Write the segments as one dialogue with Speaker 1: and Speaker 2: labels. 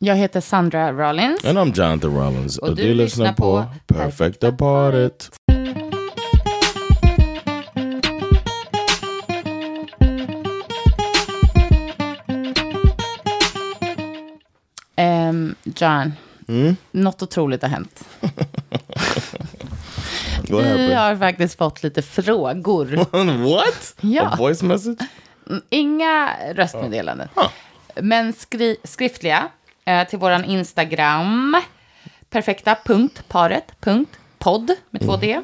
Speaker 1: Jag heter Sandra Rollins.
Speaker 2: And I'm Jonathan Rollins.
Speaker 1: Och du lyssnar på
Speaker 2: Perfecta Paret.
Speaker 1: Ehm, John, något otroligt har hänt.
Speaker 2: What
Speaker 1: Vi
Speaker 2: happened?
Speaker 1: har faktiskt fått lite frågor.
Speaker 2: What?
Speaker 1: Ja.
Speaker 2: A voice message?
Speaker 1: Inga röstmeddelanden. Ah. Men skri- skriftliga eh, till våran Instagram. Perfekta.paret.podd med två D.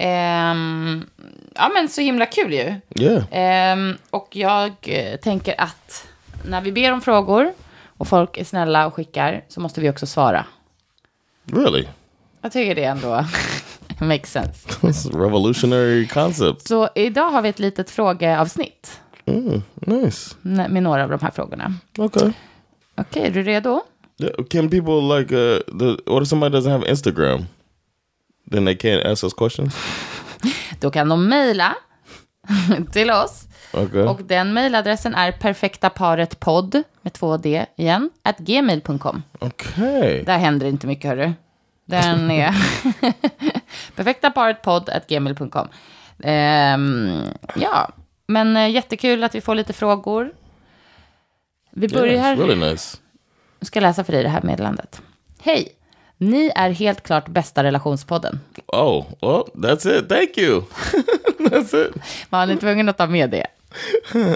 Speaker 1: Ehm, ja men så himla kul ju.
Speaker 2: Yeah.
Speaker 1: Ehm, och jag eh, tänker att när vi ber om frågor och folk är snälla och skickar så måste vi också svara.
Speaker 2: Really?
Speaker 1: Jag tycker det ändå makes sense.
Speaker 2: That's a revolutionary concept. Mm,
Speaker 1: Så idag har vi ett litet frågeavsnitt
Speaker 2: Nice.
Speaker 1: med med några av de här frågorna.
Speaker 2: Okay.
Speaker 1: Okej, är du redo?
Speaker 2: Yeah, Can people like uh the what if somebody doesn't have Instagram? Then they can't ask us questions?
Speaker 1: Då kan de mejla till oss.
Speaker 2: Okay.
Speaker 1: Och den mejladressen är perfektaparetpodd med två D igen, at gmail.com.
Speaker 2: Okay.
Speaker 1: Där händer inte mycket, hörru. Den är perfektaparetpodd.gmail.com. Ehm, ja, men eh, jättekul att vi får lite frågor. Vi
Speaker 2: Yeah,
Speaker 1: börjar...
Speaker 2: it's really nice.
Speaker 1: Jag ska läsa för dig det här meddelandet. Hej! Ni är helt klart bästa relationspodden.
Speaker 2: Oh, well, that's it. Thank you. that's it.
Speaker 1: Man är tvungen att ta med det.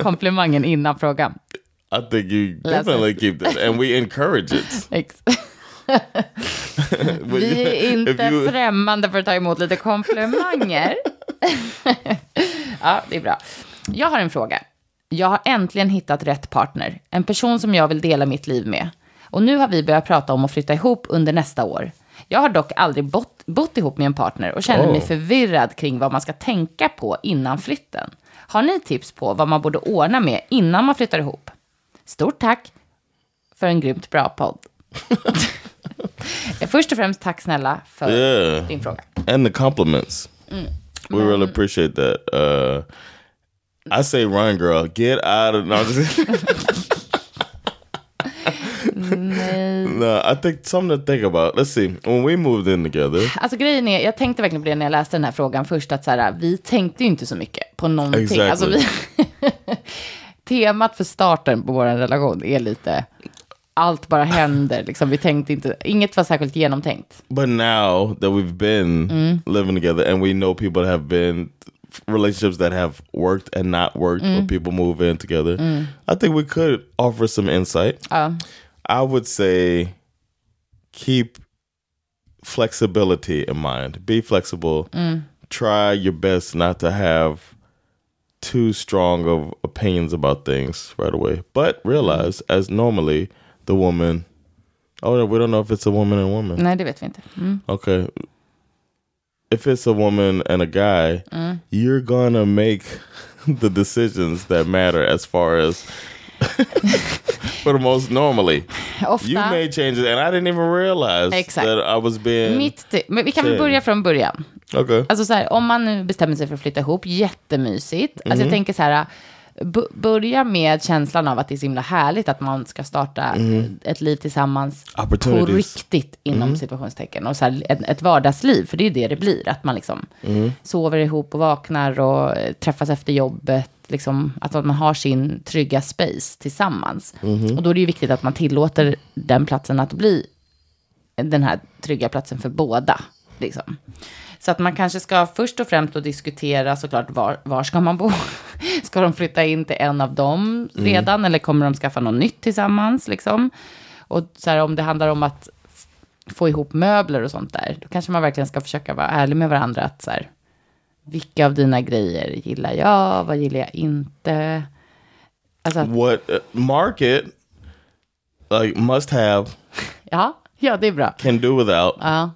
Speaker 1: Komplimangen innan frågan.
Speaker 2: I think you
Speaker 1: That's
Speaker 2: definitely keep that. And we encourage it.
Speaker 1: Ex-
Speaker 2: But
Speaker 1: Vi är inte
Speaker 2: if you-
Speaker 1: främmande för att ta emot lite komplimanger. ja, det är bra. Jag har en fråga. Jag har äntligen hittat rätt partner. En person som jag vill dela mitt liv med. Och nu har vi börjat prata om att flytta ihop under nästa år. Jag har dock aldrig bott, bott ihop med en partner och känner mig
Speaker 2: Oh.
Speaker 1: förvirrad kring vad man ska tänka på innan flytten. Har ni tips på vad man borde ordna med innan man flyttar ihop? Stort tack för en grymt bra podd. Först och främst tack snälla för
Speaker 2: Yeah.
Speaker 1: din fråga.
Speaker 2: and the compliments. We really appreciate that. Uh, I say, run, girl, get out of. No, I'm just- no, I think something to think about. Let's see. When we moved in together,
Speaker 1: Alltså grejen är, jag tänkte verkligen på det när jag läste den här frågan först, att så här, vi tänkte ju inte så mycket på någonting.
Speaker 2: Exactly.
Speaker 1: Alltså, vi... Temat för starten på vår relation är lite, allt bara händer, liksom. vi tänkte inte, inget var särskilt genomtänkt.
Speaker 2: but now that we've been living together and we know people that have been relationships that have worked and not worked when people move in together, I think we could offer some insight.
Speaker 1: Ja,
Speaker 2: I would say keep flexibility in mind. Be flexible. Try your best not to have too strong of opinions about things right away. But realize, as normally, the woman. Oh, no, we don't know if it's a woman and woman.
Speaker 1: nej det vet vi inte. Mm.
Speaker 2: Okay. If it's a woman and a guy, you're gonna make the decisions that matter as far as for the most normally. You
Speaker 1: Ofta,
Speaker 2: made changes, and I didn't even realize
Speaker 1: Exact.
Speaker 2: that I was being
Speaker 1: mitt, ti- men vi kan väl
Speaker 2: Säg.
Speaker 1: börja från början.
Speaker 2: okay.
Speaker 1: Alltså så här, om man nu bestämmer sig för att flytta ihop, jättemysigt. Alltså jag tänker så här, b- börja med känslan av att det är så himla härligt att man ska starta ett liv tillsammans på
Speaker 2: Opportunities.
Speaker 1: riktigt inom situationstecken. Och så här, ett, ett vardagsliv, för det är ju det det blir. Att man liksom sover ihop och vaknar och eh, träffas efter jobbet. Liksom, att man har sin trygga space tillsammans. Och då är det ju viktigt att man tillåter den platsen att bli den här trygga platsen för båda. Liksom. Så att man kanske ska först och främst då diskutera såklart var, var ska man bo? Ska de flytta in till en av dem redan eller kommer de skaffa något nytt tillsammans? Liksom? Och så här, om det handlar om att f- få ihop möbler och sånt där, då kanske man verkligen ska försöka vara ärlig med varandra. att så här, Vilka av dina grejer gillar jag? Vad gillar jag inte? Alltså, att-
Speaker 2: What uh, market like must have
Speaker 1: ja, ja, det är bra.
Speaker 2: can do without,
Speaker 1: Ja.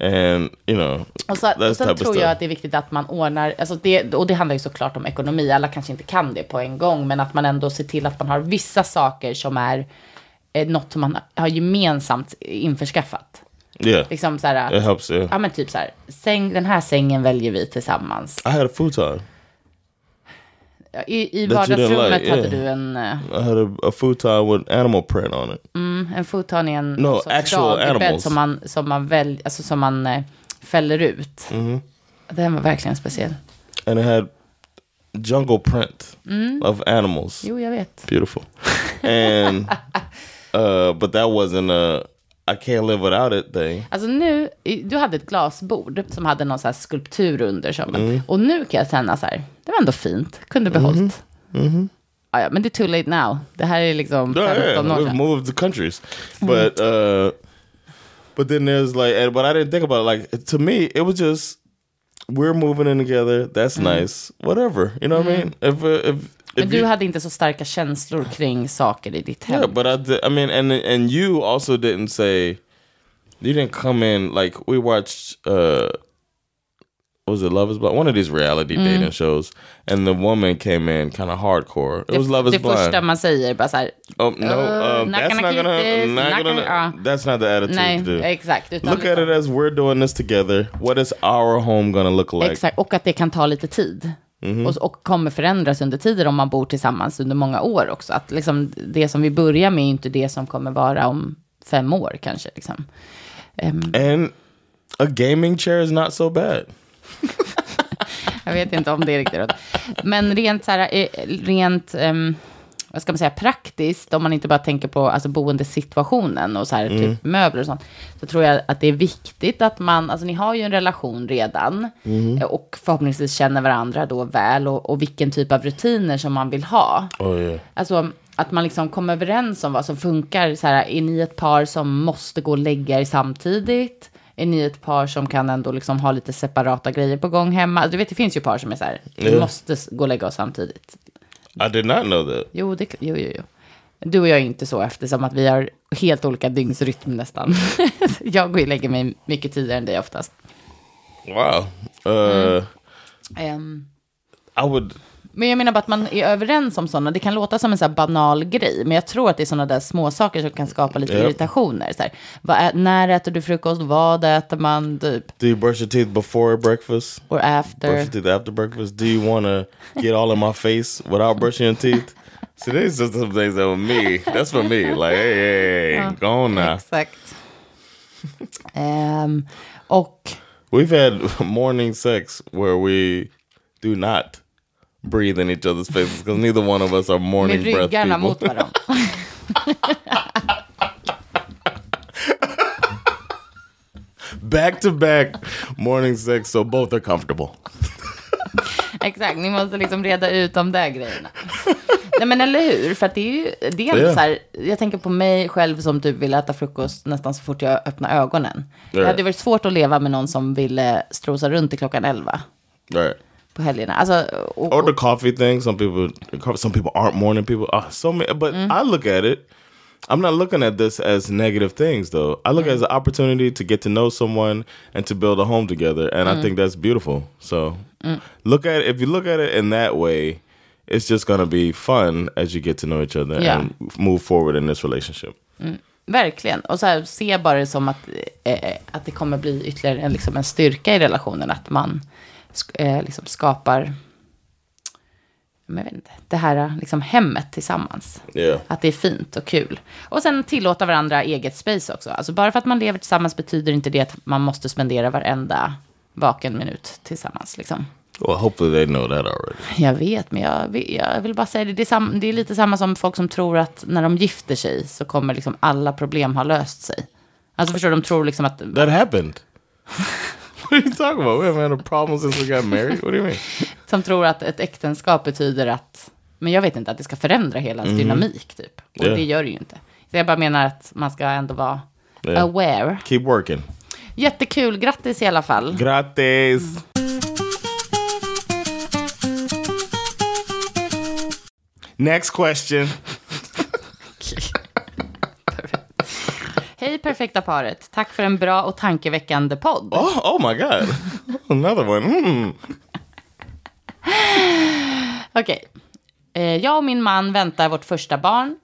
Speaker 2: and you know
Speaker 1: Och, så, och
Speaker 2: that's
Speaker 1: sen
Speaker 2: type of
Speaker 1: tror jag
Speaker 2: stuff.
Speaker 1: att det är viktigt att man ordnar, alltså det, och det handlar ju såklart om ekonomi, alla kanske inte kan det på en gång, men att man ändå ser till att man har vissa saker som är eh, något som man har gemensamt införskaffat.
Speaker 2: yeah,
Speaker 1: Liksom så här,
Speaker 2: it helps. Yeah.
Speaker 1: ja men typ så här, säng, den här sängen väljer vi tillsammans.
Speaker 2: I had a futon.
Speaker 1: Ja, I, i
Speaker 2: That you didn't
Speaker 1: vardagsrummet
Speaker 2: like,
Speaker 1: hade
Speaker 2: yeah.
Speaker 1: du en, eh,
Speaker 2: I had a, a futon with animal print on it.
Speaker 1: en futon i en
Speaker 2: No, actual animals.
Speaker 1: som man, som man, väl, alltså, som man eh, fäller ut.
Speaker 2: Mm-hmm.
Speaker 1: Den var verkligen speciell.
Speaker 2: and it had jungle print of animals.
Speaker 1: Jo, jag vet.
Speaker 2: Beautiful. And uh but that wasn't a I can't live without it thing.
Speaker 1: Alltså nu, i- du hade ett glasbord som hade någon så här skulptur under som en- Och nu kan jag känna så här, det var ändå fint, kunde behållit. Ja, ja, men det är too late now. Det här är liksom
Speaker 2: Yeah,
Speaker 1: 15
Speaker 2: yeah,
Speaker 1: år
Speaker 2: we've
Speaker 1: sedan.
Speaker 2: moved the countries. But uh but then there's like and but I didn't think about it like to me it was just we're moving in together. That's nice. Whatever. You know what I mean? If uh, if
Speaker 1: Men
Speaker 2: if you-
Speaker 1: du hade inte så starka känslor kring saker i ditt hem.
Speaker 2: Yeah, but I, did, I mean, and and you also didn't say, you didn't come in like we watched. uh what Was it Love Is Blind? One of these reality
Speaker 1: Mm-hmm.
Speaker 2: dating shows, and the woman came in kind of hardcore. It was Love Is
Speaker 1: det första
Speaker 2: Blind.
Speaker 1: man säger bara så här,
Speaker 2: Oh no,
Speaker 1: Uh,
Speaker 2: uh,
Speaker 1: not
Speaker 2: that's
Speaker 1: gonna
Speaker 2: not
Speaker 1: keep
Speaker 2: gonna,
Speaker 1: this,
Speaker 2: not
Speaker 1: not
Speaker 2: gonna.
Speaker 1: gonna- uh,
Speaker 2: that's not the attitude
Speaker 1: nej,
Speaker 2: to do.
Speaker 1: exakt. Utan
Speaker 2: typ. Look at it as we're doing this together. What is our home gonna look like?
Speaker 1: Exakt, och att det kan ta lite tid. Och, och kommer förändras under tiden om man bor tillsammans under många år också. Att liksom det som vi börjar med är inte det som kommer vara om fem år kanske. Liksom.
Speaker 2: And a gaming chair is not so bad.
Speaker 1: Jag vet inte om det är riktigt rätt. Men rent, så här, eh, rent ehm, vad ska man säga, praktiskt, om man inte bara tänker på alltså, boendesituationen och så här, typ möbler och sånt, så tror jag att det är viktigt att man, alltså ni har ju en relation redan, eh, och förhoppningsvis känner varandra då väl, och, och vilken typ av rutiner som man vill ha.
Speaker 2: Oh yeah.
Speaker 1: Alltså att man liksom kommer överens om vad som funkar. Så här, är ni ett par som måste gå och lägga er samtidigt? Är ni ett par som kan ändå liksom ha lite separata grejer på gång hemma? Alltså, Du vet, det finns ju par som är så här, vi
Speaker 2: Ja.
Speaker 1: måste s- gå och lägga oss samtidigt.
Speaker 2: I did not know that.
Speaker 1: Jo, det, jo, jo, jo. Du och jag är inte så eftersom att vi har helt olika dygnsrytm nästan. jag går och lägger mig mycket tidigare än dig oftast.
Speaker 2: Wow.
Speaker 1: Mm-hmm.
Speaker 2: Uh,
Speaker 1: Ehm,
Speaker 2: I would.
Speaker 1: Men jag menar bara att man är överens om sådana. Det kan låta som en så här banal grej, men jag tror att det är sådana där små saker som kan skapa lite
Speaker 2: Ja.
Speaker 1: irritationer. Så här, vad ä- när äter du frukost? Vad äter man? Typ.
Speaker 2: Do you brush your teeth before breakfast?
Speaker 1: Or
Speaker 2: Brush
Speaker 1: after.
Speaker 2: your teeth after breakfast? Do you want to get all in my face without brushing your teeth? See, these are some things that were me. That's for me. Like, hey, hey, hey, go on now.
Speaker 1: Exakt. Ehm, och
Speaker 2: We've had morning sex where we do not breathe in each other's faces because neither one of us are
Speaker 1: med
Speaker 2: morning breath
Speaker 1: ryggarna
Speaker 2: people.
Speaker 1: mot varandra.
Speaker 2: Back to back morning sex, so both are comfortable.
Speaker 1: Exakt, ni måste liksom reda ut de där grejerna. Nej men eller hur, för att det är ju, det är ändå
Speaker 2: Ja.
Speaker 1: så här, jag tänker på mig själv som typ vill äta frukost nästan så fort jag öppnar ögonen. Det
Speaker 2: Ja.
Speaker 1: hade varit svårt att leva med någon som ville strosa runt till klockan 11
Speaker 2: All right.
Speaker 1: på helgerna. Alltså, och,
Speaker 2: or
Speaker 1: och,
Speaker 2: the coffee thing. Some people, some people aren't morning people. Ah, so many, but I look at it. I'm not looking at this as negative things, though. I look at it as an opportunity to get to know someone and to build a home together, and I think that's beautiful. So, look at it, if you look at it in that way, it's just gonna be fun as you get to know each other
Speaker 1: Yeah.
Speaker 2: and move forward in this relationship.
Speaker 1: verkligen, och så här, se bara det som att, eh, att det kommer bli ytterligare en, liksom en styrka i relationen, att man sk- eh, liksom skapar, men jag vet inte, det här liksom hemmet tillsammans.
Speaker 2: Yeah,
Speaker 1: Att det är fint och kul. Och sen tillåta varandra eget space också. Alltså bara för att man lever tillsammans betyder inte det att man måste spendera varenda vaken minut tillsammans. Liksom.
Speaker 2: well, hopefully they know that already.
Speaker 1: Jag vet, men jag vill, jag vill bara säga det. Det är, sam, det är lite samma som folk som tror att när de gifter sig så kommer liksom alla problem ha löst sig. Alltså förstår du, de tror liksom att...
Speaker 2: That happened. what are you talking about? We haven't had a problem since we got married. What do you mean?
Speaker 1: Som tror att ett äktenskap betyder att... Men jag vet inte, att det ska förändra hela ens dynamik typ. Och
Speaker 2: Mhm. Ja.
Speaker 1: det gör det ju inte. Så jag bara menar att man ska ändå vara
Speaker 2: Ja.
Speaker 1: aware.
Speaker 2: Keep working.
Speaker 1: Jättekul, grattis i alla fall.
Speaker 2: Gratis. Next question.
Speaker 1: Hej perfekta paret. Tack för en bra och tankeväckande podd.
Speaker 2: Oh, oh my God. Another one. Mm.
Speaker 1: Okej. Eh, Jag och min man väntar vårt första barn.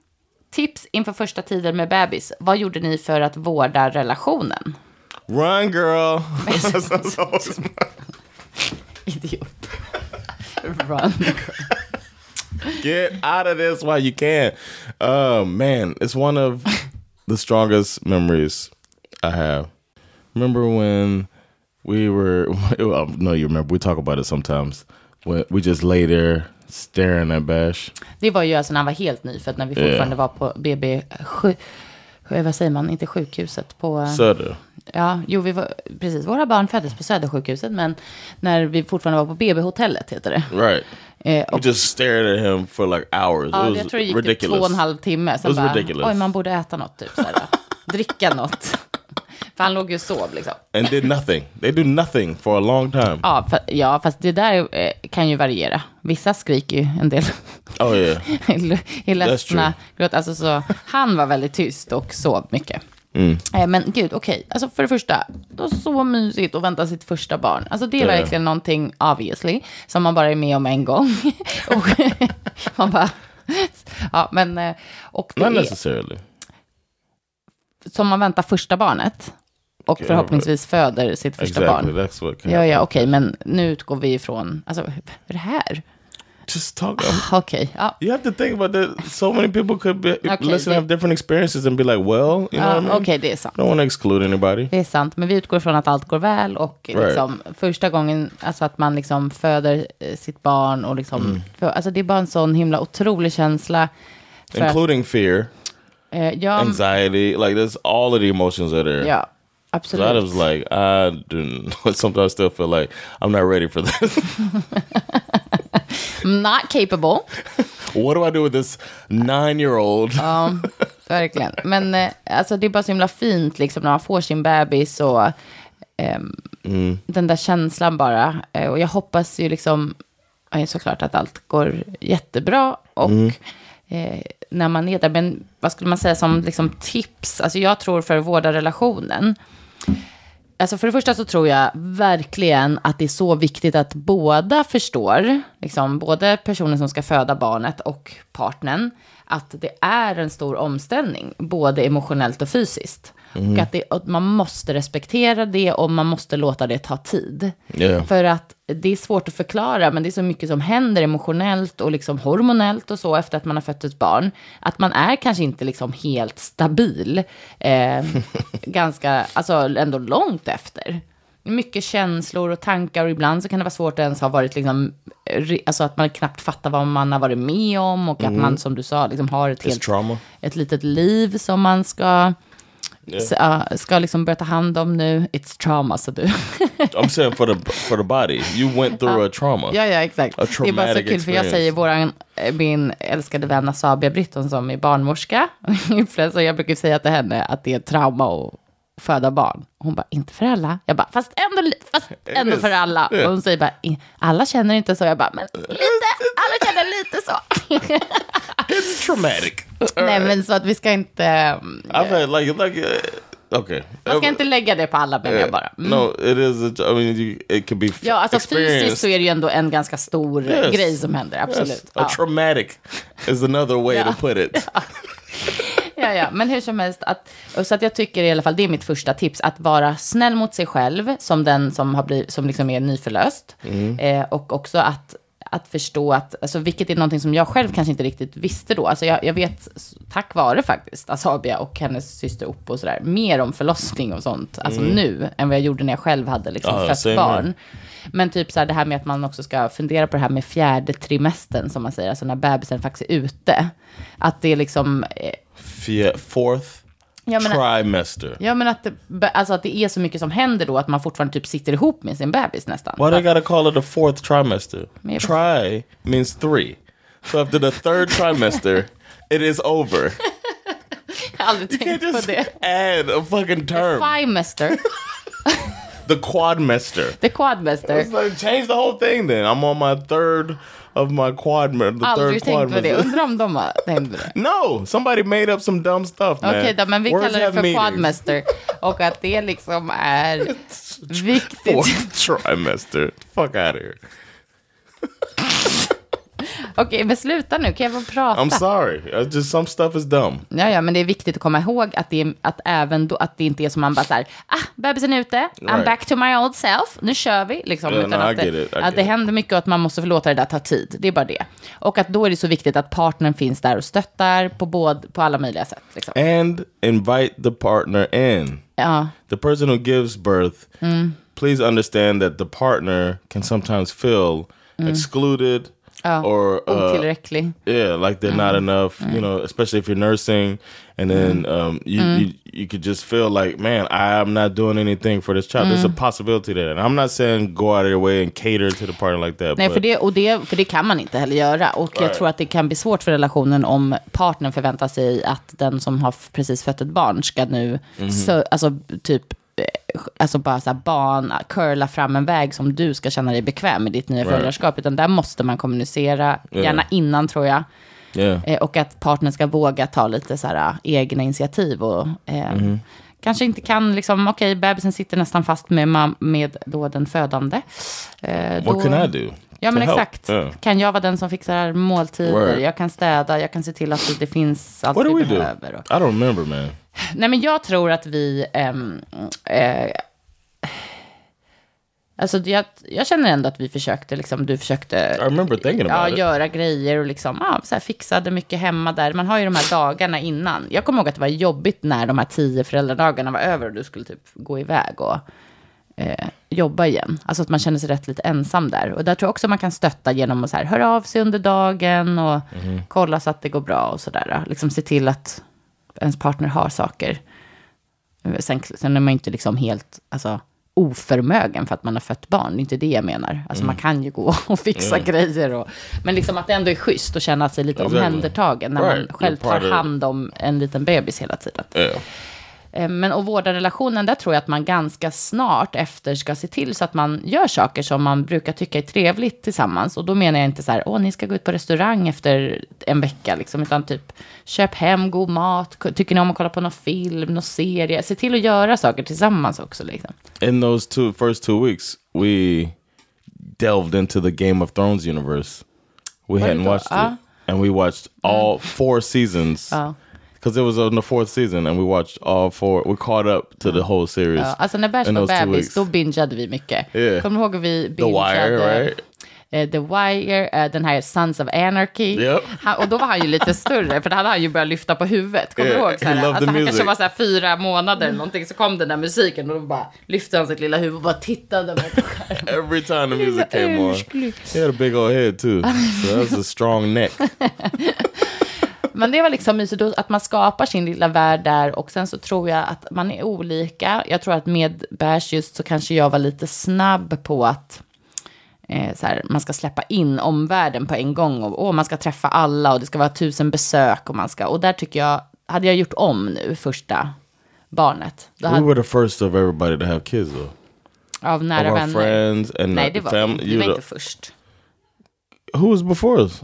Speaker 1: Tips inför första tiden med bebis. Vad gjorde ni för att vårda relationen?
Speaker 2: Run, girl. That's always my-
Speaker 1: Idiot. Run.
Speaker 2: Get out of this while you can. Uh, man, it's one of the strongest memories I have. Remember when we were? Well, no, you remember. We talk about it sometimes. When we just lay there staring at Bash.
Speaker 1: Det var ju alltså när han var helt nyfödd, när vi fortfarande var på BB... Sju, sju- vad säger man? Inte sjukhuset. På, eh,
Speaker 2: Sutter.
Speaker 1: ja, jo, vi var, precis. Våra barn föddes på Södersjukhuset, men när vi fortfarande var på BB-hotellet, heter det.
Speaker 2: Right.
Speaker 1: Eh, och
Speaker 2: We just stared at him for like hours.
Speaker 1: Ja,
Speaker 2: it
Speaker 1: jag
Speaker 2: was
Speaker 1: tror det gick typ två och
Speaker 2: ridiculous.
Speaker 1: en halv timme. Sen
Speaker 2: It was
Speaker 1: bara,
Speaker 2: ridiculous.
Speaker 1: oj, man borde äta något, typ så här. Dricka något. För han låg ju och sov liksom.
Speaker 2: and did nothing. They do nothing for a long time.
Speaker 1: Ja, fa- ja, fast det där eh, kan ju variera. Vissa skriker ju en del.
Speaker 2: Oh yeah.
Speaker 1: är ledsna,
Speaker 2: true.
Speaker 1: gråter. Alltså, så, han var väldigt tyst och sov mycket.
Speaker 2: Mm.
Speaker 1: Eh, Men gud, okej. Alltså för det första, det var så mysigt att vänta sitt första barn. Alltså det är
Speaker 2: Ja.
Speaker 1: verkligen någonting, obviously, som man bara är med om en gång. och man bara... Ja, men... eh, Och det
Speaker 2: Not
Speaker 1: är,
Speaker 2: necessarily.
Speaker 1: som man väntar första barnet och förhoppningsvis föder sitt första
Speaker 2: Exactly.
Speaker 1: barn.
Speaker 2: That's what.
Speaker 1: Ja, ja, okej, men nu utgår vi ifrån, alltså, vad är det här? Ah,
Speaker 2: Just talk.
Speaker 1: Okej, ja.
Speaker 2: You have to think about that. So many people could be
Speaker 1: Okay, Uh,
Speaker 2: listen,
Speaker 1: they-
Speaker 2: have different experiences, and be like, "Well, you know,
Speaker 1: ja
Speaker 2: what I mean?
Speaker 1: Ah, okej, det är sant.
Speaker 2: I don't want to exclude anybody."
Speaker 1: Det är sant, men vi utgår från att allt går väl och
Speaker 2: Right.
Speaker 1: liksom, första gången, alltså att man liksom föder eh, sitt barn och liksom,
Speaker 2: Mm.
Speaker 1: för, alltså det är bara en sån himla otrolig känsla. För att,
Speaker 2: Including fear,
Speaker 1: eh, ja,
Speaker 2: anxiety, like there's all of the emotions are there.
Speaker 1: ja,
Speaker 2: 'Cause I was
Speaker 1: absolut.
Speaker 2: like, I do. Sometimes I still feel like I'm not ready for this.
Speaker 1: Not capable.
Speaker 2: what do I do with this nine-year-old?
Speaker 1: Verkligen. Men eh, alltså, det är bara så himla fint liksom, när man får sin bebis och ehm, den där känslan bara. Eh, och jag hoppas ju liksom, eh, såklart att allt går jättebra. Och eh, när man är där, men vad skulle man säga som liksom, tips? Alltså, jag tror för att vårda relationen. Alltså för det första så tror jag verkligen att det är så viktigt att båda förstår, liksom både personen som ska föda barnet och partnern, att det är en stor omställning, både emotionellt och fysiskt. Och att, det, att man måste respektera det och man måste låta det ta tid.
Speaker 2: Ja.
Speaker 1: För att det är svårt att förklara, men det är så mycket som händer emotionellt och liksom hormonellt och så efter att man har fött ett barn. Att man är kanske inte liksom helt stabil, eh, ganska, alltså ändå långt efter. Mycket känslor och tankar och ibland så kan det vara svårt att ens ha varit liksom, eh, re- alltså att man knappt fattar vad man har varit med om och att man som du sa liksom har ett helt
Speaker 2: trauma.
Speaker 1: ett litet liv som man ska, s- ja, ska liksom börja ta hand om nu. It's trauma, sa du.
Speaker 2: I'm saying for the for the body, you went through a trauma.
Speaker 1: Ja, ja, exakt.
Speaker 2: A
Speaker 1: Det är bara så kul,
Speaker 2: traumatic
Speaker 1: för jag
Speaker 2: experience.
Speaker 1: säger våran, eh, min älskade vän Asabia Britton som är barnmorska, influencer, jag brukar säga till henne att det är ett trauma att föda barn. Hon bara, inte för alla. Jag bara, fast ändå, li- fast ändå
Speaker 2: is.
Speaker 1: för alla. Och hon säger bara, "I- alla känner inte så. Jag bara, men lite, alla känner lite så.
Speaker 2: It's traumatic.
Speaker 1: Nej, men så att vi ska inte, mm,
Speaker 2: I've had like like uh, okay.
Speaker 1: man ska inte lägga det på alla,
Speaker 2: Eh,
Speaker 1: menar jag bara. Mm.
Speaker 2: No, it is. A, I mean, you, it could be.
Speaker 1: Ja, alltså fysiskt
Speaker 2: experienced.
Speaker 1: så är det ju ändå en ganska stor
Speaker 2: Yes.
Speaker 1: grej som händer, absolut.
Speaker 2: Yes,
Speaker 1: Ja.
Speaker 2: A traumatic is another
Speaker 1: Oh.
Speaker 2: way
Speaker 1: Yeah.
Speaker 2: to put it.
Speaker 1: Ja, ja, men hur som helst. Att, och så att jag tycker i alla fall, det är mitt första tips, att vara snäll mot sig själv som den som, har blivit, som liksom är nyförlöst. Eh, och också att, att förstå att, alltså, vilket är någonting som jag själv kanske inte riktigt visste då. Alltså jag, jag vet, s- tack vare faktiskt Asabia och hennes syster Oppo och sådär, mer om förlossning och sånt, alltså nu, än vad jag gjorde när jag själv hade liksom
Speaker 2: Ja,
Speaker 1: fött
Speaker 2: same
Speaker 1: barn.
Speaker 2: here.
Speaker 1: Men typ så här, det här med att man också ska fundera på det här med fjärde trimestern, som man säger, alltså när bebisen faktiskt är ute. Att det är liksom, eh,
Speaker 2: Fe- Fourth
Speaker 1: jag menar,
Speaker 2: trimester.
Speaker 1: Ja, men att det, be- alltså att det är så mycket som händer då att man fortfarande typ sitter ihop med sin bebis nästan.
Speaker 2: Why they gotta call it a fourth trimester?
Speaker 1: Maybe.
Speaker 2: Try means three. So after the third trimester, it is over.
Speaker 1: Jag har aldrig
Speaker 2: You
Speaker 1: tänkt på
Speaker 2: just
Speaker 1: det.
Speaker 2: add a fucking term.
Speaker 1: Fimester,
Speaker 2: The quadmester.
Speaker 1: the quadmester.
Speaker 2: It's like, change the whole thing then. I'm on my third of my quad, the third
Speaker 1: Aldrig
Speaker 2: quad.
Speaker 1: tänkt på det. Undrar om de har tänkt på det.
Speaker 2: No, somebody made up some dumb stuff, man.
Speaker 1: Okej då, men vi
Speaker 2: Words
Speaker 1: kallar det
Speaker 2: have
Speaker 1: för
Speaker 2: meanings.
Speaker 1: quadmaster. Och att det liksom är
Speaker 2: Fourth
Speaker 1: viktigt.
Speaker 2: trimester. Fuck out of here.
Speaker 1: Okej, men sluta nu. Kan jag få prata?
Speaker 2: I'm sorry. I just some stuff is dumb.
Speaker 1: Ja, ja, men det är viktigt att komma ihåg att det, är, att även då, att det inte är som man bara så här, ah, bebisen är ute, I'm
Speaker 2: Right.
Speaker 1: back to my old self, nu kör vi. Liksom,
Speaker 2: Yeah,
Speaker 1: utan
Speaker 2: no, I
Speaker 1: att,
Speaker 2: get
Speaker 1: det,
Speaker 2: it, I
Speaker 1: att
Speaker 2: get
Speaker 1: det
Speaker 2: it.
Speaker 1: händer mycket och att man måste låta det där ta tid. Det är bara det. Och att då är det så viktigt att partnern finns där och stöttar på, både, på alla möjliga sätt. Liksom.
Speaker 2: And invite the partner in.
Speaker 1: Ja,
Speaker 2: The person who gives birth, please understand that the partner can sometimes feel excluded or uh,
Speaker 1: otillräcklig.
Speaker 2: Yeah, like they're not
Speaker 1: Mm-hmm.
Speaker 2: enough, you know, especially if you're nursing and then um you,
Speaker 1: Mm-hmm.
Speaker 2: you you could just feel like, man, I'm not doing anything for this child. There's
Speaker 1: Mm.
Speaker 2: a possibility there. And I'm not saying go out of your way and cater to the partner like that.
Speaker 1: Nej,
Speaker 2: but
Speaker 1: för det, och det, för det kan man inte heller göra. Och jag
Speaker 2: Right.
Speaker 1: tror att det kan bli svårt för relationen om partnern förväntar sig att den som har f- precis fött ett barn ska nu,
Speaker 2: Mhm.
Speaker 1: sö- alltså typ, eh, alltså bara så här barn, curla fram en väg som du ska känna dig bekväm med ditt nya föräldraskap. Utan där måste man kommunicera, gärna innan tror jag.
Speaker 2: yeah.
Speaker 1: Eh, Och att partnern ska våga ta lite så här, eh, egna initiativ. Och, eh,
Speaker 2: Mhm.
Speaker 1: Kanske inte kan, liksom, okej, bebisen sitter nästan fast med, mam- med då den födande. Eh,
Speaker 2: What
Speaker 1: då-
Speaker 2: can I do?
Speaker 1: Ja, men
Speaker 2: to help?
Speaker 1: exakt.
Speaker 2: Yeah.
Speaker 1: Kan jag vara den som fixar måltider,
Speaker 2: Word.
Speaker 1: jag kan städa, jag kan se till att det finns allt
Speaker 2: What do
Speaker 1: vi
Speaker 2: we do?
Speaker 1: behöver. Och-
Speaker 2: I don't remember, man.
Speaker 1: Nej, men jag tror att vi... ehm, eh, alltså, jag, jag känner ändå att vi försökte, liksom, du försökte
Speaker 2: I remember thinking
Speaker 1: ja,
Speaker 2: about it.
Speaker 1: göra grejer och liksom, ja, så här, fixade mycket hemma där. Man har ju de här dagarna innan. Jag kommer ihåg att det var jobbigt när de här tio föräldradagarna var över och du skulle typ gå iväg och eh, jobba igen. Alltså att man känner sig rätt lite ensam där. Och där tror jag också man kan stötta genom att så här, höra av sig under dagen och kolla så att det går bra och sådär. Liksom se till att ens partner har saker. Sen, sen är man ju inte liksom helt alltså, oförmögen för att man har fött barn. Det är inte det jag menar. Alltså,
Speaker 2: Mm.
Speaker 1: Man kan ju gå och fixa grejer. Och, men liksom att det ändå är schysst att känna sig lite
Speaker 2: Exactly.
Speaker 1: omhändertagen när
Speaker 2: Right.
Speaker 1: man själv
Speaker 2: You're part
Speaker 1: tar
Speaker 2: of-
Speaker 1: hand om en liten bebis hela tiden.
Speaker 2: Yeah.
Speaker 1: Eh, Men och vårda relationen, där tror jag att man ganska snart efter ska se till så att man gör saker som man brukar tycka är trevligt tillsammans. Och då menar jag inte så här, åh, ni ska gå ut på restaurang efter en vecka, liksom, utan typ köp hem god mat, K- tycker ni om att kolla på någon film, någon serie, se till att göra saker tillsammans också. Liksom.
Speaker 2: In those two first two weeks, we delved into the Game of Thrones universe. We hadn't
Speaker 1: go-
Speaker 2: watched it,
Speaker 1: Ah.
Speaker 2: and we watched all four seasons
Speaker 1: Ah.
Speaker 2: because it was on the fourth season, and we watched all four. We caught up to the whole series.
Speaker 1: Ja, alltså när Bärs
Speaker 2: in
Speaker 1: var
Speaker 2: those two
Speaker 1: bebis,
Speaker 2: weeks.
Speaker 1: då bingeade vi mycket.
Speaker 2: Yeah.
Speaker 1: Kommer du ihåg hur vi
Speaker 2: The
Speaker 1: bingeade?
Speaker 2: Wire, right?
Speaker 1: eh, The Wire, eh, den här Sons of Anarchy.
Speaker 2: Yep.
Speaker 1: Han, och då var han ju lite större, för då hade han ju börjat lyfta på huvudet. Kommer
Speaker 2: Yeah,
Speaker 1: du ihåg? Så här,
Speaker 2: he loved
Speaker 1: alltså,
Speaker 2: the
Speaker 1: han kanske
Speaker 2: music.
Speaker 1: var så här fyra månader eller någonting, så kom den där musiken och då bara lyfte han sitt lilla huvud och bara tittade. på skärmen.
Speaker 2: Every time the music
Speaker 1: Lilla
Speaker 2: came on,
Speaker 1: älskling.
Speaker 2: he had a big old head too, so that was a strong neck.
Speaker 1: Men det var liksom mysigt då, att man skapar sin lilla värld där och sen så tror jag att man är olika. Jag tror att med Bärs just så kanske jag var lite snabb på att eh, så här, man ska släppa in omvärlden på en gång och, åh, man ska träffa alla och det ska vara tusen besök och man ska, och där tycker jag, hade jag gjort om nu första barnet, då
Speaker 2: We
Speaker 1: hade,
Speaker 2: were the first of everybody to have kids, though.
Speaker 1: av
Speaker 2: Of
Speaker 1: nära
Speaker 2: our
Speaker 1: vänner.
Speaker 2: friends and
Speaker 1: Nej, det
Speaker 2: the
Speaker 1: var vi
Speaker 2: family.
Speaker 1: inte, vi var inte först.
Speaker 2: who was before us?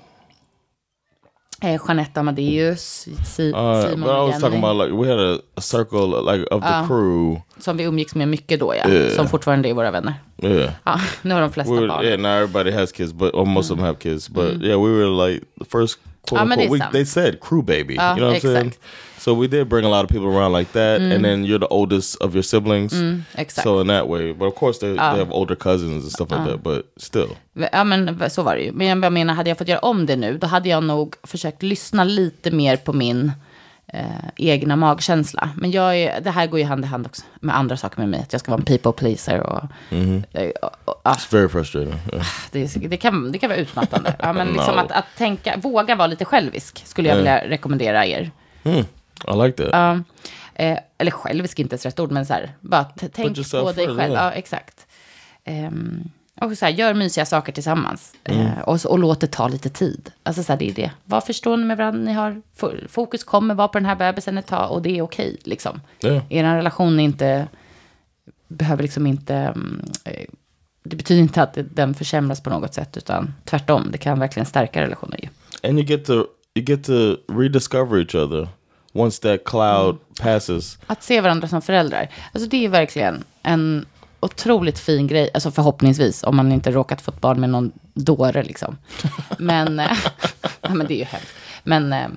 Speaker 1: Eh, Jeanette Amadeus, si,
Speaker 2: Uh,
Speaker 1: Simon
Speaker 2: but I
Speaker 1: och
Speaker 2: was talking
Speaker 1: Jenny.
Speaker 2: about like we had a, a circle like of the crew.
Speaker 1: Som vi umgicks med mycket då, ja. Som fortfarande är våra vänner.
Speaker 2: Yeah.
Speaker 1: Ja, nu har de flesta
Speaker 2: We were,
Speaker 1: barn.
Speaker 2: yeah, now everybody has kids, but or most of them have kids. But yeah, we were like the first quote
Speaker 1: Ah, men det
Speaker 2: unquote.
Speaker 1: är
Speaker 2: We,
Speaker 1: sant.
Speaker 2: they said crew baby.
Speaker 1: Ah,
Speaker 2: you know what I'm saying?
Speaker 1: exakt.
Speaker 2: So we did bring a lot of people around like that, and then you're the oldest of your siblings.
Speaker 1: exakt.
Speaker 2: So in that way, but of course they, they have older cousins and stuff like that. But still,
Speaker 1: Ja, men så var det ju. Men jag bara menar, hade jag fått göra om det nu, då hade jag nog försökt lyssna lite mer på min eh, egna magkänsla. Men jag är, det här går ju hand i hand också med andra saker med mig. Att jag ska vara en people pleaser och...
Speaker 2: Mm-hmm.
Speaker 1: eh, och, och ah,
Speaker 2: it's very frustrating. Yeah.
Speaker 1: det, det, kan, det kan vara utmattande. Ja, men
Speaker 2: No.
Speaker 1: liksom att, att tänka, våga vara lite självisk, skulle jag vilja rekommendera er.
Speaker 2: I like that.
Speaker 1: Ja. Eh, eller självisk är inte ens rätt ord, men så här, bara t- tänk
Speaker 2: yourself
Speaker 1: på dig
Speaker 2: first,
Speaker 1: själv.
Speaker 2: yeah.
Speaker 1: Ja, exakt. Ehm, och så här, gör mysiga saker tillsammans. Eh,
Speaker 2: Mm.
Speaker 1: och, så, och låt det ta lite tid. Alltså så här, det är det. Var förstående med varandra ni har. F- Fokus kommer vara på den här bebisen ett tag och det är okej. Liksom.
Speaker 2: Yeah.
Speaker 1: Er relation är inte, behöver liksom inte mm, eh, det betyder inte att det- den försämras på något sätt, utan tvärtom. Det kan verkligen stärka relationer ju.
Speaker 2: and you get to you get to rediscover each other once that cloud passes.
Speaker 1: Att se varandra som föräldrar, alltså det är verkligen en otroligt fin grej, alltså förhoppningsvis, om man inte råkat få ett barn med någon dåre liksom. Men, eh, ja, men det är ju hemskt. Men eh,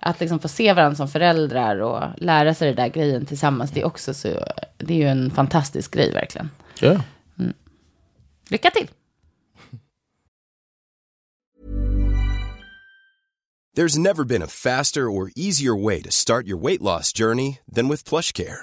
Speaker 1: att liksom få se varandra som föräldrar och lära sig det där grejen tillsammans, det är också så, det är ju en fantastisk grej verkligen.
Speaker 2: Yeah.
Speaker 1: Lycka till!
Speaker 3: There's never been a faster or easier way to start your weight loss journey than with PlushCare.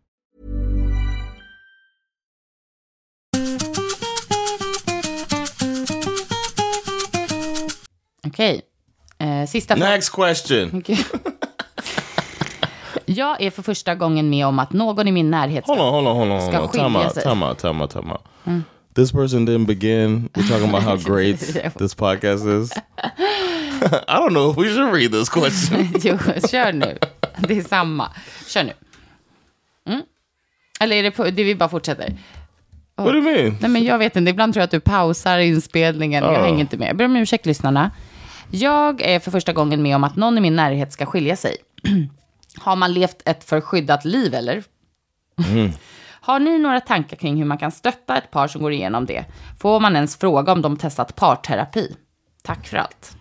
Speaker 1: Okej, eh, sista frågan.
Speaker 2: Next question.
Speaker 1: Gud. Jag är för första gången med om att någon i min närhet...
Speaker 2: Hold on, hold on, hold on, hold
Speaker 1: Ska
Speaker 2: on. Time
Speaker 1: skilja
Speaker 2: out,
Speaker 1: sig.
Speaker 2: time out, time out, time out. This person didn't begin. We're talking about how great this podcast is. I don't know if we should read this question.
Speaker 1: Jo, kör nu. Det är samma. Kör nu. Mm. Eller är det, på, det vi bara fortsätter?
Speaker 2: What do you mean?
Speaker 1: Nej, men jag vet inte. Ibland tror jag att du pausar inspelningen. Jag hänger inte med. Jag ber om ursäkt, lyssnarna. Jag är för första gången med om att någon i min närhet ska skilja sig. Har man levt ett förskyddat liv, eller? Har ni några tankar kring hur man kan stötta ett par som går igenom det? Får man ens fråga om de testat parterapi? Tack för allt.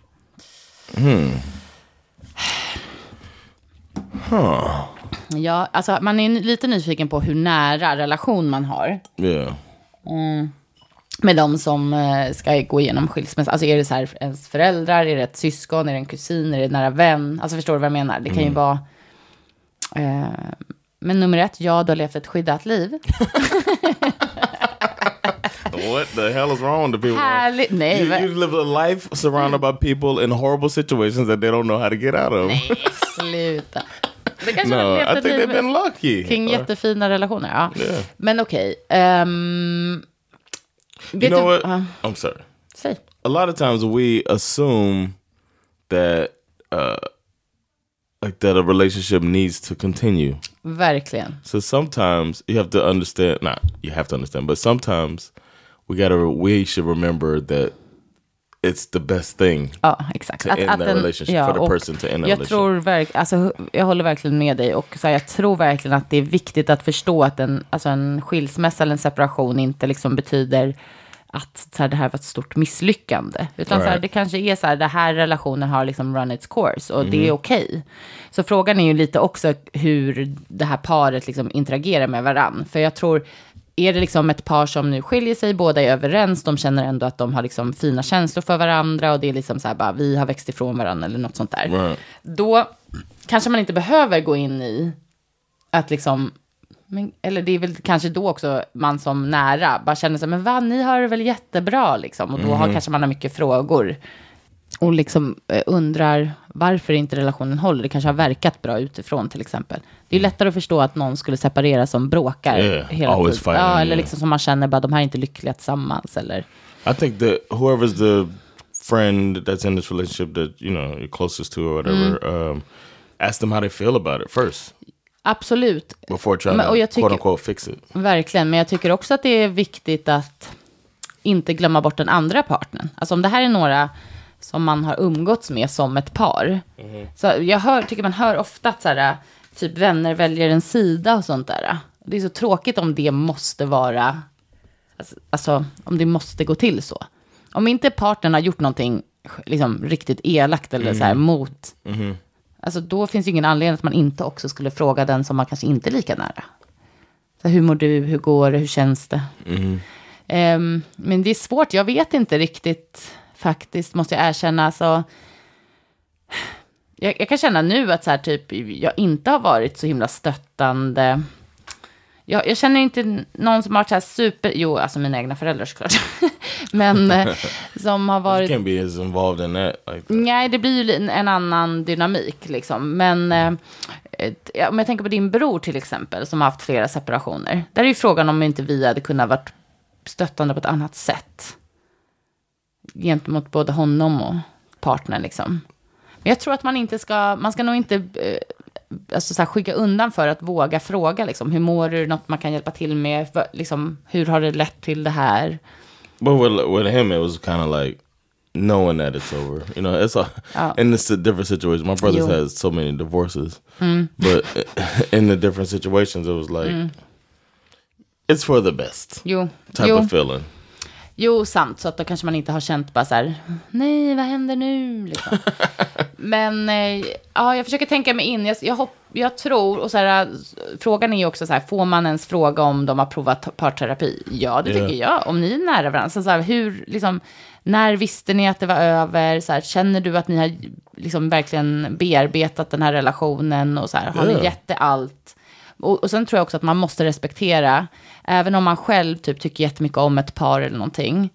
Speaker 1: Ja, alltså, man är lite nyfiken på hur nära relation man har
Speaker 2: Yeah.
Speaker 1: med de som eh, ska gå igenom skilsmässa. Alltså är det så här ens föräldrar, är det ett syskon, är det en kusin, är det en nära vän? Alltså förstår du vad jag menar? Det kan
Speaker 2: Mm.
Speaker 1: ju vara... Eh, men nummer ett, ja, du har levt ett skyddat liv.
Speaker 2: What the hell is wrong with the people?
Speaker 1: Härligt. Nej,
Speaker 2: You,
Speaker 1: va-
Speaker 2: you live a life surrounded by people in horrible situations that they don't know how to get out of.
Speaker 1: sluta. Det kanske har
Speaker 2: No,
Speaker 1: levt
Speaker 2: I
Speaker 1: ett
Speaker 2: think they've
Speaker 1: liv
Speaker 2: been lucky.
Speaker 1: kring
Speaker 2: Or-
Speaker 1: jättefina relationer. Ja. Men okej. ehm, vet
Speaker 2: you know what?
Speaker 1: Ja,
Speaker 2: I'm sorry.
Speaker 1: säg.
Speaker 2: a lot of times we assume that uh like that a relationship needs to continue.
Speaker 1: Verkligen.
Speaker 2: So sometimes you have to understand not you have to understand, but sometimes we gotta we should remember that it's the best thing.
Speaker 1: Ja, exakt.
Speaker 2: To end the
Speaker 1: en-
Speaker 2: relationship, for the
Speaker 1: och
Speaker 2: person to end the
Speaker 1: jag
Speaker 2: relationship.
Speaker 1: tror verk, alltså, Jag håller verkligen med dig och så här, jag tror verkligen att det är viktigt att förstå att en, alltså, en skilsmässa eller en separation inte liksom betyder att så här, det här var ett stort misslyckande. Utan så här,
Speaker 2: Right.
Speaker 1: det kanske är så här, det här relationen har liksom run its course och
Speaker 2: Mm.
Speaker 1: det är okej. Så frågan är ju lite också hur det här paret liksom interagerar med varann. För jag tror, är det liksom ett par som nu skiljer sig, båda är överens, de känner ändå att de har liksom fina känslor för varandra och det är liksom så här bara, vi har växt ifrån varandra eller något sånt där.
Speaker 2: Right.
Speaker 1: Då kanske man inte behöver gå in i att liksom, men, eller det är väl kanske då också man som nära bara känner sig, men va, ni har det väl jättebra liksom. Och då
Speaker 2: Mhm.
Speaker 1: har, kanske man har mycket frågor. Och liksom eh, undrar varför inte relationen håller. Det kanske har verkat bra utifrån till exempel. Det är ju lättare att förstå att någon skulle separera som bråkar
Speaker 2: Yeah,
Speaker 1: hela
Speaker 2: always
Speaker 1: tiden.
Speaker 2: fighting,
Speaker 1: ja, eller
Speaker 2: yeah.
Speaker 1: liksom som man känner bara, de här är inte lyckliga tillsammans. Eller,
Speaker 2: I think that whoever's the friend that's in this relationship that you know you're closest to or whatever, um, ask them how they feel about it first
Speaker 1: absolut,
Speaker 2: before trying
Speaker 1: Men- och
Speaker 2: to
Speaker 1: jag tycker-
Speaker 2: quote unquote fix it.
Speaker 1: Verkligen, men jag tycker också att det är viktigt att inte glömma bort den andra partnern. Alltså om det här är några som man har umgåtts med som ett par. Så jag hör, tycker man hör ofta att så här, typ vänner väljer en sida och sånt där. Det är så tråkigt om det måste alltså, vara, alltså om det måste gå till så. Om inte partnern har gjort någonting liksom, riktigt elakt eller så här mot. Alltså då finns ju ingen anledning att man inte också skulle fråga den som man kanske inte är lika nära. Så här, hur mår du? Hur går det? Hur känns det? Ehm, men det är svårt. Jag vet inte riktigt faktiskt, måste jag erkänna. Alltså, jag, jag kan känna nu att så här, typ, jag inte har varit så himla stöttande. Jag, jag känner inte någon som har varit så här super... Jo, alltså mina egna föräldrar såklart. Men eh, som har
Speaker 2: You
Speaker 1: varit...
Speaker 2: can't be as involved in that. Like that.
Speaker 1: Nej, det blir ju li- en annan dynamik liksom. Men eh, ett- ja, om jag tänker på din bror till exempel, som har haft flera separationer. Där är ju frågan om inte vi hade kunnat varit stöttande på ett annat sätt. Gentemot både honom och partnern liksom. Men jag tror att man inte ska, man ska nog inte eh, alltså, så här, skygga undan för att våga fråga liksom. Hur mår du? Något man kan hjälpa till med? Va- Liksom, hur har det lett till det här?
Speaker 2: But with with him, it was kind of like knowing that it's over. You know, it's a in this different situation. My brother's
Speaker 1: Yeah.
Speaker 2: had so many divorces, but in the different situations, it was like it's for the best
Speaker 1: Jo,
Speaker 2: type
Speaker 1: jo.
Speaker 2: of feeling.
Speaker 1: Jo, sant. Så att då kanske man inte har känt bara så här, nej, vad händer nu? Liksom. Men eh, ja, jag försöker tänka mig in. Jag, jag, hopp, jag tror, och så här, s- frågan är ju också så här, får man ens fråga om de har provat t- parterapi? Ja, det
Speaker 2: Ja.
Speaker 1: tycker jag. Om ni är nära varandra. Så så här, hur, liksom, när visste ni att det var över? Så här, känner du att ni har liksom, verkligen bearbetat den här relationen? Och så här, har
Speaker 2: Ja.
Speaker 1: ni gett det allt? Och, och sen tror jag också att man måste respektera, även om man själv typ tycker jättemycket om ett par eller någonting,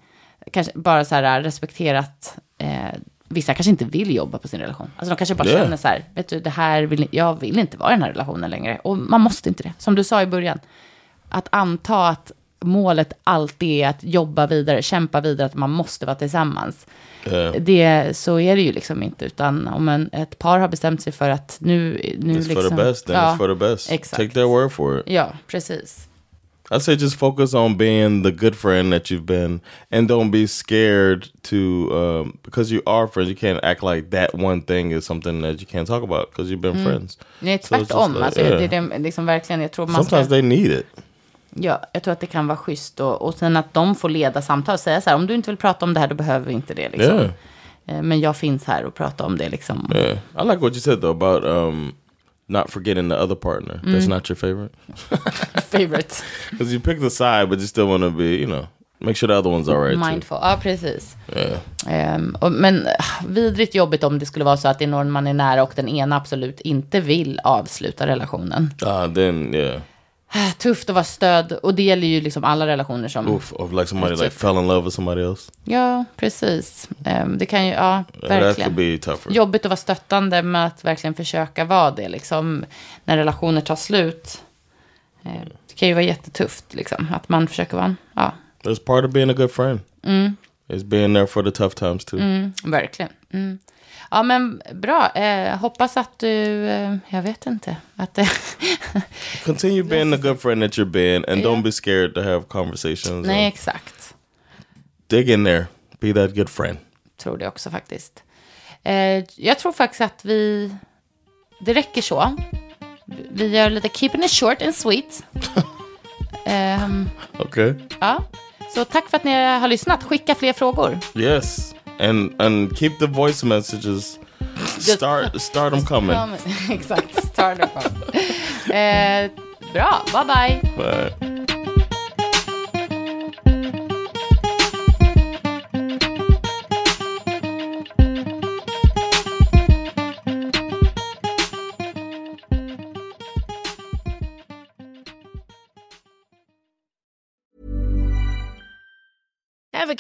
Speaker 1: kanske bara så här respektera att eh, vissa kanske inte vill jobba på sin relation. Alltså de kanske bara
Speaker 2: Ja.
Speaker 1: känner så här, vet du, det här vill, jag vill inte vara i den här relationen längre. Och man måste inte det. Som du sa i början, att anta att målet alltid är att jobba vidare, kämpa vidare, att man måste vara tillsammans. Det, så är det ju liksom inte, utan om en, ett par har bestämt sig för att nu... nu
Speaker 2: It's
Speaker 1: liksom,
Speaker 2: for the best, then
Speaker 1: Ja,
Speaker 2: it's for the best.
Speaker 1: Exakt.
Speaker 2: Take their word for it.
Speaker 1: Ja, precis.
Speaker 2: I say just focus on being the good friend that you've been, and don't be scared to um, because you are friends. You can't act like that one thing is something that you can't talk about because you've been friends.
Speaker 1: Nej,
Speaker 2: So it's just
Speaker 1: tvärtom.
Speaker 2: like,
Speaker 1: alltså,
Speaker 2: yeah.
Speaker 1: det, det, liksom, verkligen, jag tror man ska...
Speaker 2: Sometimes they need it.
Speaker 1: Ja, jag tror att det kan vara schysst. Och, och sen att de får leda samtal. Säga så här, om du inte vill prata om det här, då behöver vi inte det. Liksom.
Speaker 2: Yeah.
Speaker 1: Eh, Men jag finns här och pratar om det. Liksom.
Speaker 2: Yeah. I like what you said though about um not forgetting the other partner.
Speaker 1: Mm.
Speaker 2: That's not your favorite.
Speaker 1: Favorite.
Speaker 2: Because you pick the side, but you still want to be, you know, make sure the other one's all right. too.
Speaker 1: Mindful. Ja, precis. Ehm, och, men ah, vidrigt jobbigt om det skulle vara så att det är någon man är nära och den ena absolut inte vill avsluta relationen.
Speaker 2: Uh, then, yeah.
Speaker 1: Ah, Tufft att vara stöd. Och det gäller ju liksom alla relationer som...
Speaker 2: Oof, of like somebody
Speaker 1: That's
Speaker 2: like
Speaker 1: it.
Speaker 2: fell in love with somebody else.
Speaker 1: Ja, precis. Ehm, det kan ju... Ja,
Speaker 2: Yeah, that could
Speaker 1: verkligen.
Speaker 2: be tougher.
Speaker 1: jobbigt att vara stöttande, men att verkligen försöka vara det. Liksom, när relationer tar slut. Eh, Det kan ju vara jättetufft, liksom, att man försöker vara en... Ja,
Speaker 2: That's part of being a good friend. Mm. It's being there for the tough times too.
Speaker 1: Mm, verkligen. Mm. Ja, men bra. Eh, hoppas att du... Eh, jag vet inte. Att det...
Speaker 2: Continue being the good friend that you're being, and don't be scared to have conversations.
Speaker 1: Nej,
Speaker 2: and
Speaker 1: exakt.
Speaker 2: Dig in there. Be that good friend.
Speaker 1: Tror det också faktiskt. Eh, jag tror faktiskt att vi... Det räcker så. Vi gör lite keeping it short and sweet. Ehm,
Speaker 2: Okay.
Speaker 1: Ja, så tack för att ni har lyssnat. Skicka fler frågor.
Speaker 2: Yes. And and keep the voice messages. Start start them coming.
Speaker 1: Ja, men- Exakt, start up. eh, bra, bye bye.
Speaker 2: Bye.
Speaker 4: Ever